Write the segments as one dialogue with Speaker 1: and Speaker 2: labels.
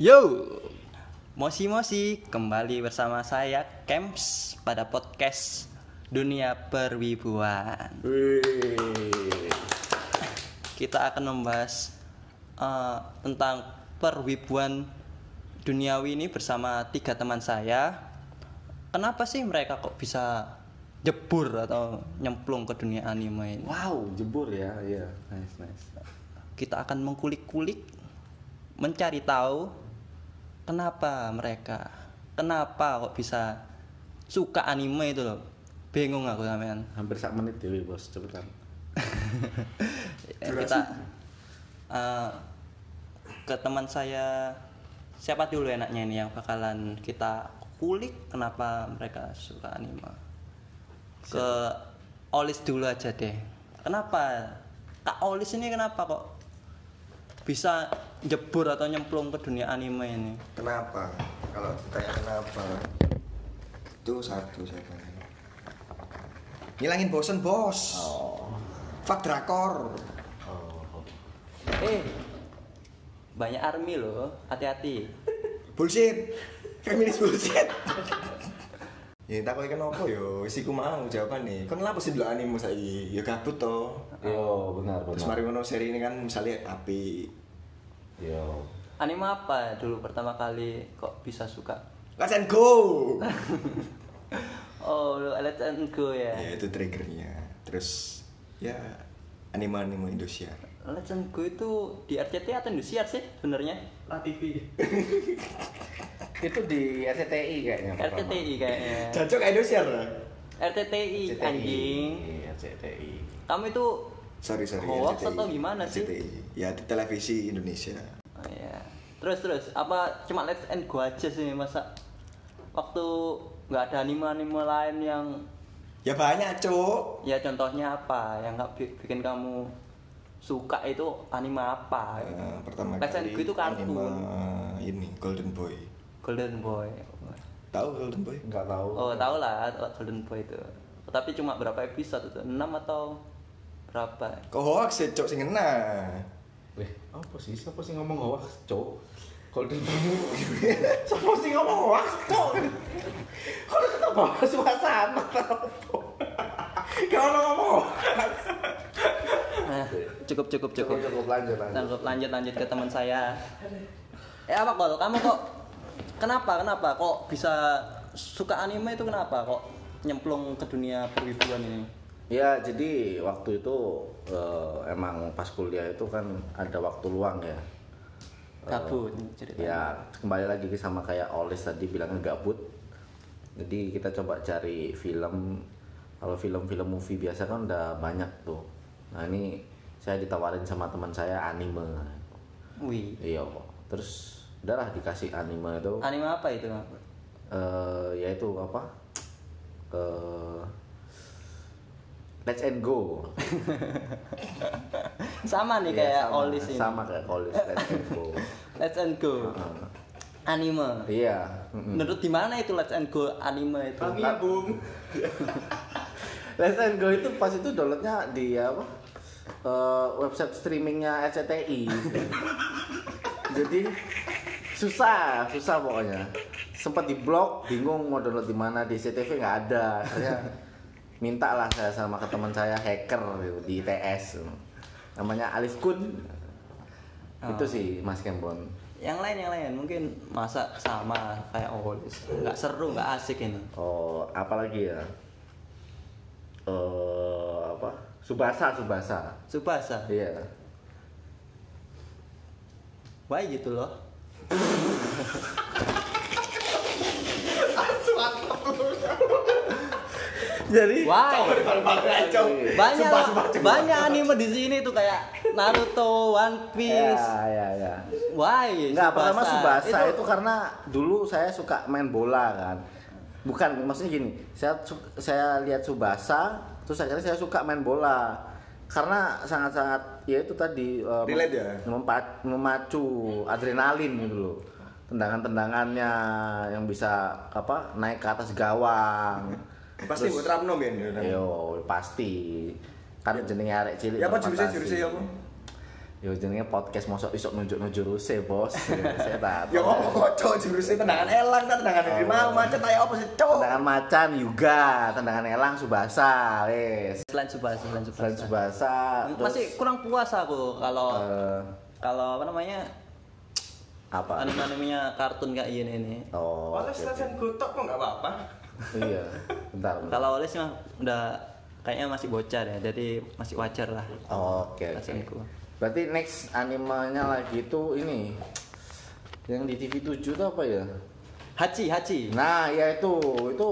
Speaker 1: Yo, Mosi Mosi kembali bersama saya Camps pada podcast Dunia Perwibuan. Kita akan membahas eh, tentang perwibuan duniawi ini bersama tiga teman saya. Kenapa sih mereka kok bisa jebur atau nyemplung ke dunia anime ini?
Speaker 2: Wow, jebur ya, iya, nice nice.
Speaker 1: kita akan mengkulik-kulik mencari tahu kenapa mereka kenapa kok bisa suka anime itu loh bingung aku sampean
Speaker 2: Hampir sak menit dewi bos, cepetan.
Speaker 1: kita eh, ke teman saya siapa dulu enaknya ini yang bakalan kita kulik kenapa mereka suka anime ke Olis dulu aja deh kenapa Kak Olis ini kenapa kok bisa jebur atau nyemplung ke dunia anime ini
Speaker 3: Kenapa? Kalau ditanya kenapa? Itu satu saya pengen. Ngilangin bosen, Bos. Fak drakor.
Speaker 1: eh banyak army loh hati-hati
Speaker 3: Bullshit. Feminis bullshit. ya tak kok kenapa yo? Wis iku mau jawaban nih. Kon kenapa sih dulu animu saiki? Ya gabut to.
Speaker 2: Yo, benar
Speaker 3: Terus
Speaker 2: benar.
Speaker 3: mari ngono seri ini kan misalnya api.
Speaker 2: Yo,
Speaker 1: anime apa dulu pertama kali kok bisa suka
Speaker 3: Let's and go.
Speaker 1: oh lu Let's and Go ya
Speaker 3: ya itu triggernya. Terus ya anime-anime Indonesia.
Speaker 1: Legend Go itu di RCT atau Indosiar sih sebenarnya?
Speaker 2: itu di RCTI kayaknya. pertama.
Speaker 1: RCTI kayaknya.
Speaker 3: Cocok Indonesia.
Speaker 1: RCTI
Speaker 2: RCTI.
Speaker 1: anjing.
Speaker 2: Iya, RCTI.
Speaker 1: Kamu itu
Speaker 3: sorry sorry
Speaker 1: hoax
Speaker 3: RCTI.
Speaker 1: atau gimana sih?
Speaker 3: RCTI. ya di televisi Indonesia
Speaker 1: Oh, iya. Terus terus apa cuma Let's and Go aja sih masa waktu nggak ada anime-anime lain yang
Speaker 3: ya banyak cuk
Speaker 1: ya contohnya apa yang nggak bi- bikin kamu suka itu anime apa?
Speaker 3: Eh, pertama
Speaker 1: Let's and
Speaker 3: kali
Speaker 1: Go itu kartun
Speaker 3: anime ini Golden Boy
Speaker 1: Golden Boy.
Speaker 3: tahu Golden Boy
Speaker 2: Enggak tahu.
Speaker 1: Oh, tau lah Golden Boy itu. Tapi cuma berapa episode itu? 6 atau berapa?
Speaker 3: kok hoax ya cuk sing kena
Speaker 2: Wih, apa sih? Siapa sih ngomong hoax, Cok? Golden Boy. Siapa sih ngomong hoax, Cok? Kok lu tetap bawa suasana apa? Kau ngomong hoax.
Speaker 1: Nah, cukup cukup cukup.
Speaker 2: Cukup, cukup, lanjut, lanjut.
Speaker 1: Lanjut lanjut lanjut ke teman saya. Eh apa kok kamu kok kenapa kenapa kok bisa suka anime itu kenapa kok nyemplung ke dunia perwibuan ini?
Speaker 2: Ya jadi waktu itu eh, emang pas kuliah itu kan ada waktu luang ya.
Speaker 1: Gabut cerita.
Speaker 2: Ya kembali lagi ke sama kayak Oles tadi bilangnya gabut. Jadi kita coba cari film. Kalau film-film movie biasa kan udah banyak tuh. Nah ini saya ditawarin sama teman saya anime.
Speaker 1: Wih,
Speaker 2: Iya. Terus udahlah dikasih anime itu.
Speaker 1: anime apa itu?
Speaker 2: eh yaitu apa? eh Let's and go.
Speaker 1: Sama nih
Speaker 2: Iya,
Speaker 1: kayak
Speaker 2: sama,
Speaker 1: Olis ini.
Speaker 2: Sama kayak Olis Let's and Go.
Speaker 1: Let's and go. Anime.
Speaker 2: Iya.
Speaker 1: Menurut di mana itu Let's and Go anime itu?
Speaker 2: Bung. Let's and Go itu pas itu downloadnya di apa? Eh, website streamingnya RCTI. Jadi susah, susah pokoknya. Sempat di blog, bingung mau download di mana di CTV nggak ada. Akhirnya minta lah saya sama ke teman saya hacker gitu, di ITS. Namanya Alif Kun.
Speaker 1: Oh.
Speaker 2: Itu sih Mas Kembon.
Speaker 1: Yang lain yang lain mungkin masa sama kayak Olis. Nggak seru, nggak asik ini.
Speaker 2: Oh, apalagi ya? Eh, apa? Subasa, Subasa.
Speaker 1: Subasa.
Speaker 2: Iya.
Speaker 1: Why gitu loh.
Speaker 2: Jadi
Speaker 1: Why? Banyak
Speaker 3: Sumpah, sumpah, sumpah.
Speaker 1: banyak anime di sini tuh kayak Naruto, One
Speaker 2: Ya,
Speaker 1: Piece.
Speaker 2: ya, ya.
Speaker 1: Why?
Speaker 2: Enggak, pertama Subasa
Speaker 1: Itu-
Speaker 2: itu... karena dulu saya suka main bola kan. Bukan, maksudnya gini, saya su- saya lihat Subasa, terus akhirnya saya suka main bola. Karena sangat-sangat ya itu tadi eh,
Speaker 3: Relate ya?
Speaker 2: mempa- memacu adrenalin gitu loh. Tendangan-tendangannya yang bisa apa? naik ke atas gawang.
Speaker 3: pasti buat Ramno ben
Speaker 2: Yo, Iya, pasti. Kan jenenge arek cilik.
Speaker 3: Iya. Ya, apa
Speaker 2: berfantasi.
Speaker 3: jurusnya- jurusnya ya, apa?
Speaker 2: Yo jenenge podcast mosok isok nunjuk-nunjuk ruse, Bos. Saya tak.
Speaker 3: Ya apa cok jurusnya tendangan elang kan tendangan negeri mau macet ayo apa sih cok.
Speaker 2: Tendangan macan Yuga, tendangan elang Subasa, wes.
Speaker 1: Selain Subasa, selain Subasa.
Speaker 2: Selain Subasa, terus,
Speaker 1: Masih kurang puas aku kalau
Speaker 2: eh,
Speaker 1: kalau apa namanya
Speaker 2: apa?
Speaker 1: anime-animenya kartun kayak gini ini.
Speaker 2: Oh. oke,
Speaker 3: Oleh
Speaker 2: oke.
Speaker 3: stasiun gotok kok nggak apa-apa.
Speaker 2: Iya. Bentar. bentar.
Speaker 1: Kalau Oles mah udah kayaknya masih bocah ya, jadi masih wajar lah.
Speaker 2: Oh, Oke. oke.
Speaker 1: Perasaanku.
Speaker 2: Berarti next animenya lagi itu ini yang di TV 7 itu apa ya?
Speaker 1: Hachi, Hachi.
Speaker 2: Nah, ya itu itu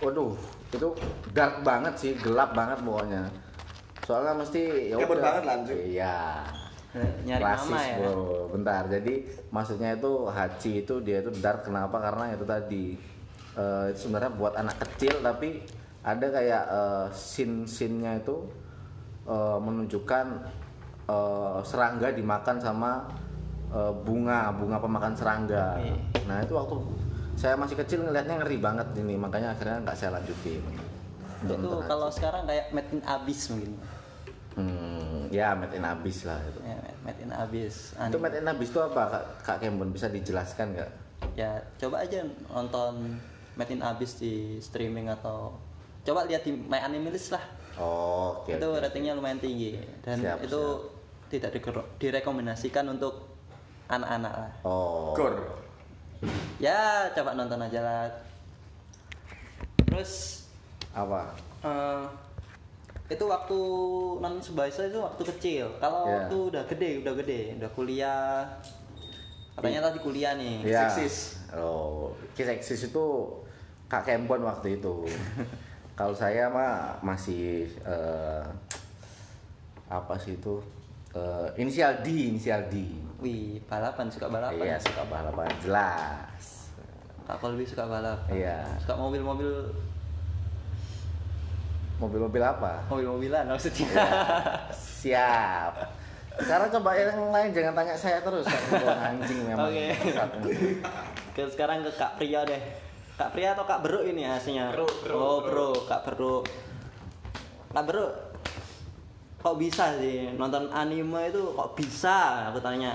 Speaker 2: waduh, itu dark banget sih, gelap banget pokoknya. Soalnya mesti ya
Speaker 3: Kabur
Speaker 2: udah.
Speaker 3: banget lanjut.
Speaker 2: Iya.
Speaker 1: Nyari
Speaker 2: Rasis,
Speaker 1: mama ya.
Speaker 2: bro. Bentar. Jadi maksudnya itu Haji itu dia itu dark kenapa? Karena itu tadi eh, itu sebenarnya buat anak kecil tapi ada kayak eh, scene-scene-nya itu eh, menunjukkan eh, serangga dimakan sama eh, bunga, bunga pemakan serangga.
Speaker 1: Iya.
Speaker 2: Nah itu waktu saya masih kecil ngelihatnya ngeri banget ini, makanya akhirnya nggak saya lanjutin. Untuk
Speaker 1: Itu
Speaker 2: nonton aja.
Speaker 1: kalau sekarang kayak Made in Abyss mungkin.
Speaker 2: Hmm, ya made in abyss lah itu.
Speaker 1: Ya, Made in Abyss. Anime.
Speaker 2: Itu made in abyss itu apa Kak, Kak Kembon bisa dijelaskan nggak?
Speaker 1: Ya, coba aja nonton Made in Abyss di streaming atau coba lihat di My Anime List lah.
Speaker 2: Oh, oke.
Speaker 1: itu
Speaker 2: oke.
Speaker 1: ratingnya lumayan tinggi dan
Speaker 2: Siap,
Speaker 1: itu tidak dikero- direkomendasikan untuk anak-anak lah.
Speaker 2: Oh.
Speaker 3: Gor.
Speaker 1: Ya, coba nonton aja lah. Terus
Speaker 2: Apa?
Speaker 1: eh, itu waktu nonton sebahasa itu waktu kecil. Kalau
Speaker 2: Ya.
Speaker 1: waktu udah gede, udah gede, udah kuliah. Katanya tadi kuliah nih.
Speaker 2: Ya.
Speaker 3: Seksis.
Speaker 2: Oh, ki seksis itu Kak Kembon waktu itu. Kalau saya mah masih eh, apa sih itu? Eh, inisial D, inisial D.
Speaker 1: Wih, balapan suka balapan.
Speaker 2: Iya, suka balapan jelas.
Speaker 1: Kak Kolbi suka balapan.
Speaker 2: Iya.
Speaker 1: Suka mobil-mobil
Speaker 2: Mobil-mobil apa?
Speaker 1: mobil-mobilan maksudnya.
Speaker 2: Iya. Siap. Sekarang coba yang lain jangan tanya saya terus. Aku buang anjing memang.
Speaker 1: Oke. Oke, sekarang ke Kak Pria deh. Kak Pria atau Kak Beruk ini aslinya?
Speaker 3: Beruk, Beruk,
Speaker 1: oh, Bro, Kak Beruk. Kak Beruk. Kok bisa sih nonton anime itu kok bisa? Aku tanya.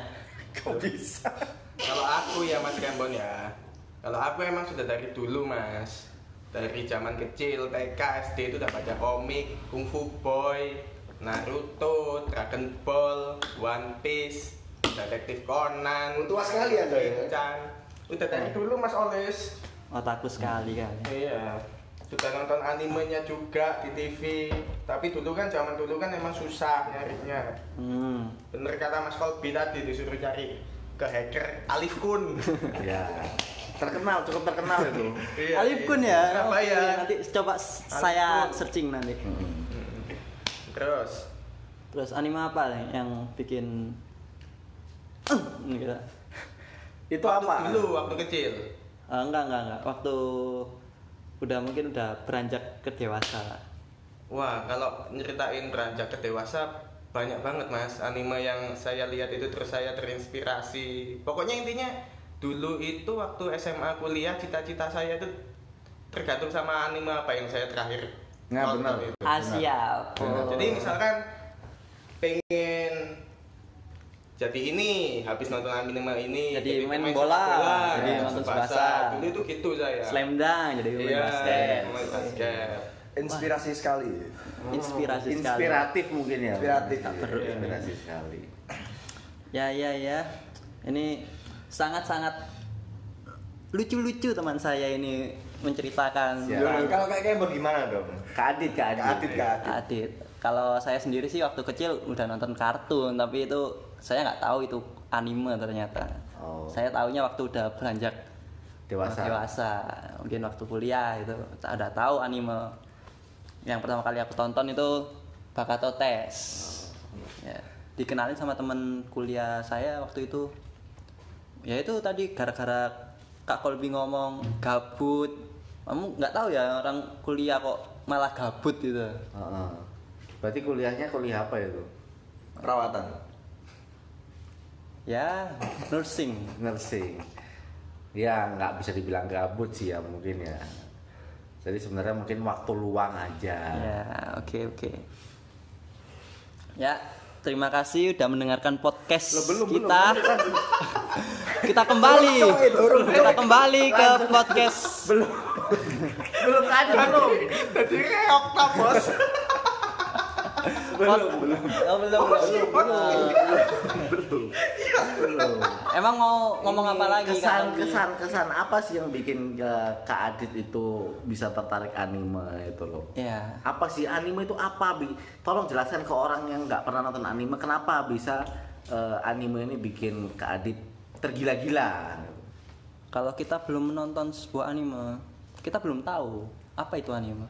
Speaker 3: Kok bisa? Kalau aku ya Mas Kembon ya. Kalau aku emang sudah dari dulu Mas. Dari zaman kecil TK SD itu udah baca komik, Kung Fu Boy, Naruto, Dragon Ball, One Piece, Detektif Conan.
Speaker 4: Tua sekali Anda ya?
Speaker 3: Shinchan. Udah dari dulu Mas Oles.
Speaker 1: Otakku sekali kan.
Speaker 3: Iya. Sudah nonton animenya juga di TV. Tapi dulu kan zaman dulu kan emang susah nyarinya.
Speaker 1: Hmm.
Speaker 3: Bener kata Mas Kolbi tadi disuruh cari ke hacker Alif Kun.
Speaker 4: Iya.
Speaker 2: Ya. Terkenal, cukup terkenal itu.
Speaker 3: Iya,
Speaker 1: Alif Kun ya.
Speaker 3: Apa ya?
Speaker 2: Iya.
Speaker 1: Oke, Nanti coba s- saya
Speaker 3: Kun.
Speaker 1: searching nanti.
Speaker 3: Terus
Speaker 1: Terus anime apa nih yang bikin Eh, gitu.
Speaker 2: Itu
Speaker 3: waktu
Speaker 2: apa?
Speaker 3: dulu waktu kecil.
Speaker 1: Eh, enggak, enggak, enggak. Waktu udah mungkin udah beranjak ke dewasa lah.
Speaker 3: Wah, kalau nyeritain beranjak ke dewasa banyak banget mas anime yang saya lihat itu terus saya terinspirasi pokoknya intinya dulu itu waktu SMA kuliah cita-cita saya itu tergantung sama anime apa yang saya terakhir
Speaker 2: Nah,
Speaker 3: nonton
Speaker 2: benar. Oh.
Speaker 3: itu.
Speaker 1: Ah, Asia.
Speaker 3: Nah, Jadi misalkan pengen jadi ini habis nonton anime ini
Speaker 1: Jadi main
Speaker 3: pemain
Speaker 1: bola,
Speaker 3: sepak
Speaker 1: jadi
Speaker 3: ya,
Speaker 1: nonton
Speaker 3: sebasa.
Speaker 1: sebasa.
Speaker 3: Dulu itu gitu saya.
Speaker 1: Oh, Slam dunk jadi pemain
Speaker 3: Iya,
Speaker 1: basket.
Speaker 3: pemain basket.
Speaker 4: Inspirasi sekali.
Speaker 1: Inspirasi sekali. Iya.
Speaker 2: Inspiratif mungkin ya.
Speaker 4: Inspiratif.
Speaker 2: Tak perlu inspirasi sekali.
Speaker 1: Ya ya ya. Ini sangat-sangat lucu-lucu teman saya ini menceritakan
Speaker 2: Siap.
Speaker 3: Iya,
Speaker 4: Yoi, kalau kayak Kembon gimana dong?
Speaker 2: Kak Adit, Kak Adit.
Speaker 4: Kak Adit, Kak Adit.
Speaker 1: Adit. Kalau saya sendiri sih waktu kecil udah nonton kartun, tapi itu saya nggak tahu itu anime ternyata.
Speaker 2: Oh.
Speaker 1: Saya taunya waktu udah beranjak
Speaker 2: Dewasa.
Speaker 1: mungkin waktu kuliah itu ada tahu anime. Yang pertama kali aku tonton itu Bakato Tes.
Speaker 2: Oh.
Speaker 1: Ya, dikenalin sama temen kuliah saya waktu itu. Ya itu tadi gara-gara Kak Kolbi ngomong gabut. Kamu nggak tahu ya orang kuliah kok malah gabut gitu.
Speaker 2: Heeh. Berarti kuliahnya kuliah apa ya, itu?
Speaker 4: Perawatan.
Speaker 1: Ya, nursing.
Speaker 2: nursing ya nggak bisa dibilang gabut sih ya mungkin ya jadi sebenarnya mungkin waktu luang aja
Speaker 1: Ya, oke oke. Ya, Terima kasih udah mendengarkan podcast
Speaker 2: Loh, belum,
Speaker 1: kita.
Speaker 2: belum, kan?
Speaker 1: kita kembali.
Speaker 4: Turun, coy, turun,
Speaker 1: kita kembali ke podcast.
Speaker 2: belum belum ada belum
Speaker 3: Jadi reok ta, Bos.
Speaker 2: belum belum
Speaker 1: Oh, belum, belum.
Speaker 2: belum belum
Speaker 1: Emang mau ngomong apa
Speaker 2: Ini
Speaker 1: lagi
Speaker 2: kesan
Speaker 1: Kak Tommy?
Speaker 2: kesan kesan apa sih yang bikin ke Kak Adit itu bisa tertarik anime itu loh
Speaker 1: Ya.
Speaker 2: apa sih anime itu apa Bi? tolong jelaskan ke orang yang nggak pernah nonton anime kenapa bisa eh, anime ini bikin Kak Adit tergila-gila
Speaker 1: Kalau kita belum menonton sebuah anime, kita belum tahu apa itu anime.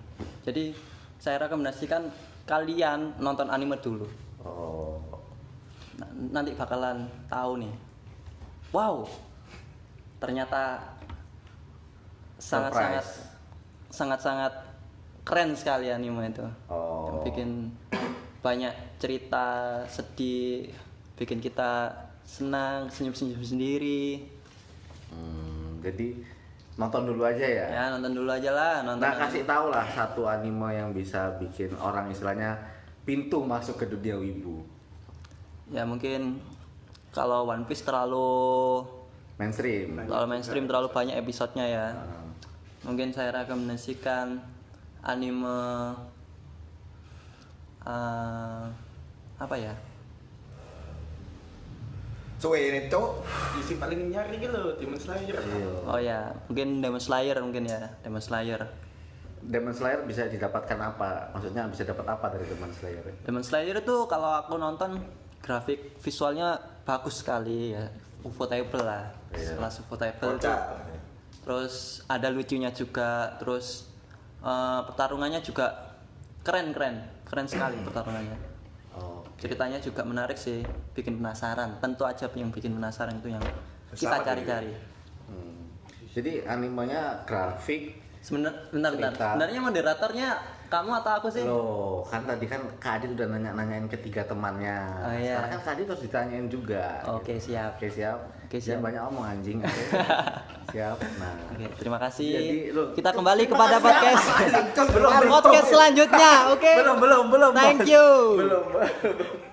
Speaker 1: Jadi saya rekomendasikan kalian nonton anime dulu.
Speaker 2: oh
Speaker 1: N- Nanti bakalan tahu nih. Wow. Ternyata sangat-sangat sangat-sangat keren sekali anime itu.
Speaker 2: oh
Speaker 1: Bikin banyak cerita sedih, bikin kita senang, senyum-senyum sendiri.
Speaker 2: Hmm, jadi nonton dulu aja ya
Speaker 1: Ya, nonton dulu aja lah, nonton.
Speaker 2: Nah kasih tau lah satu anime yang bisa bikin orang istilahnya pintu masuk ke dunia wibu
Speaker 1: Ya mungkin kalau One Piece terlalu
Speaker 2: mainstream.
Speaker 1: terlalu mainstream terlalu banyak episodenya ya. Mungkin saya rekomendasikan anime eh, apa ya?
Speaker 4: Cuy ini cok.
Speaker 3: Isi paling nyari gitu loh, Demon Slayer.
Speaker 1: Oh ya, mungkin Demon Slayer mungkin ya, Demon Slayer.
Speaker 2: Demon Slayer bisa didapatkan apa? Maksudnya bisa dapat apa dari Demon Slayer?
Speaker 1: Demon Slayer itu kalau aku nonton grafik visualnya bagus sekali ya. Ufotable lah. Setelah ufotable itu
Speaker 4: Kocak.
Speaker 1: terus ada lucunya juga terus eh, pertarungannya juga keren keren keren sekali pertarungannya
Speaker 2: Oh,
Speaker 1: ceritanya juga menarik sih bikin penasaran tentu aja yang bikin penasaran itu yang kita cari-cari
Speaker 2: hmm. jadi animenya grafik.
Speaker 1: sebenarnya bentar, bentar.
Speaker 2: Cerita.
Speaker 1: sebenarnya moderatornya kamu atau aku sih
Speaker 2: Loh, kan tadi kan Kak Adit udah nanya-nanyain ketiga temannya.
Speaker 1: Oh, iya.
Speaker 2: Sekarang kan Kak Adit harus ditanyain juga.
Speaker 1: Oke,
Speaker 2: gitu.
Speaker 1: siap.
Speaker 2: Oke siap.
Speaker 1: Oke,
Speaker 2: Jangan
Speaker 1: siap.
Speaker 2: banyak omong anjing. siap. Nah.
Speaker 1: Oke, terima kasih.
Speaker 2: Jadi, loh,
Speaker 1: kita kembali kepada podcast.
Speaker 4: Belum, belum,
Speaker 1: podcast selanjutnya, oke?
Speaker 2: belum belum belum
Speaker 1: Thank you.
Speaker 2: belum belum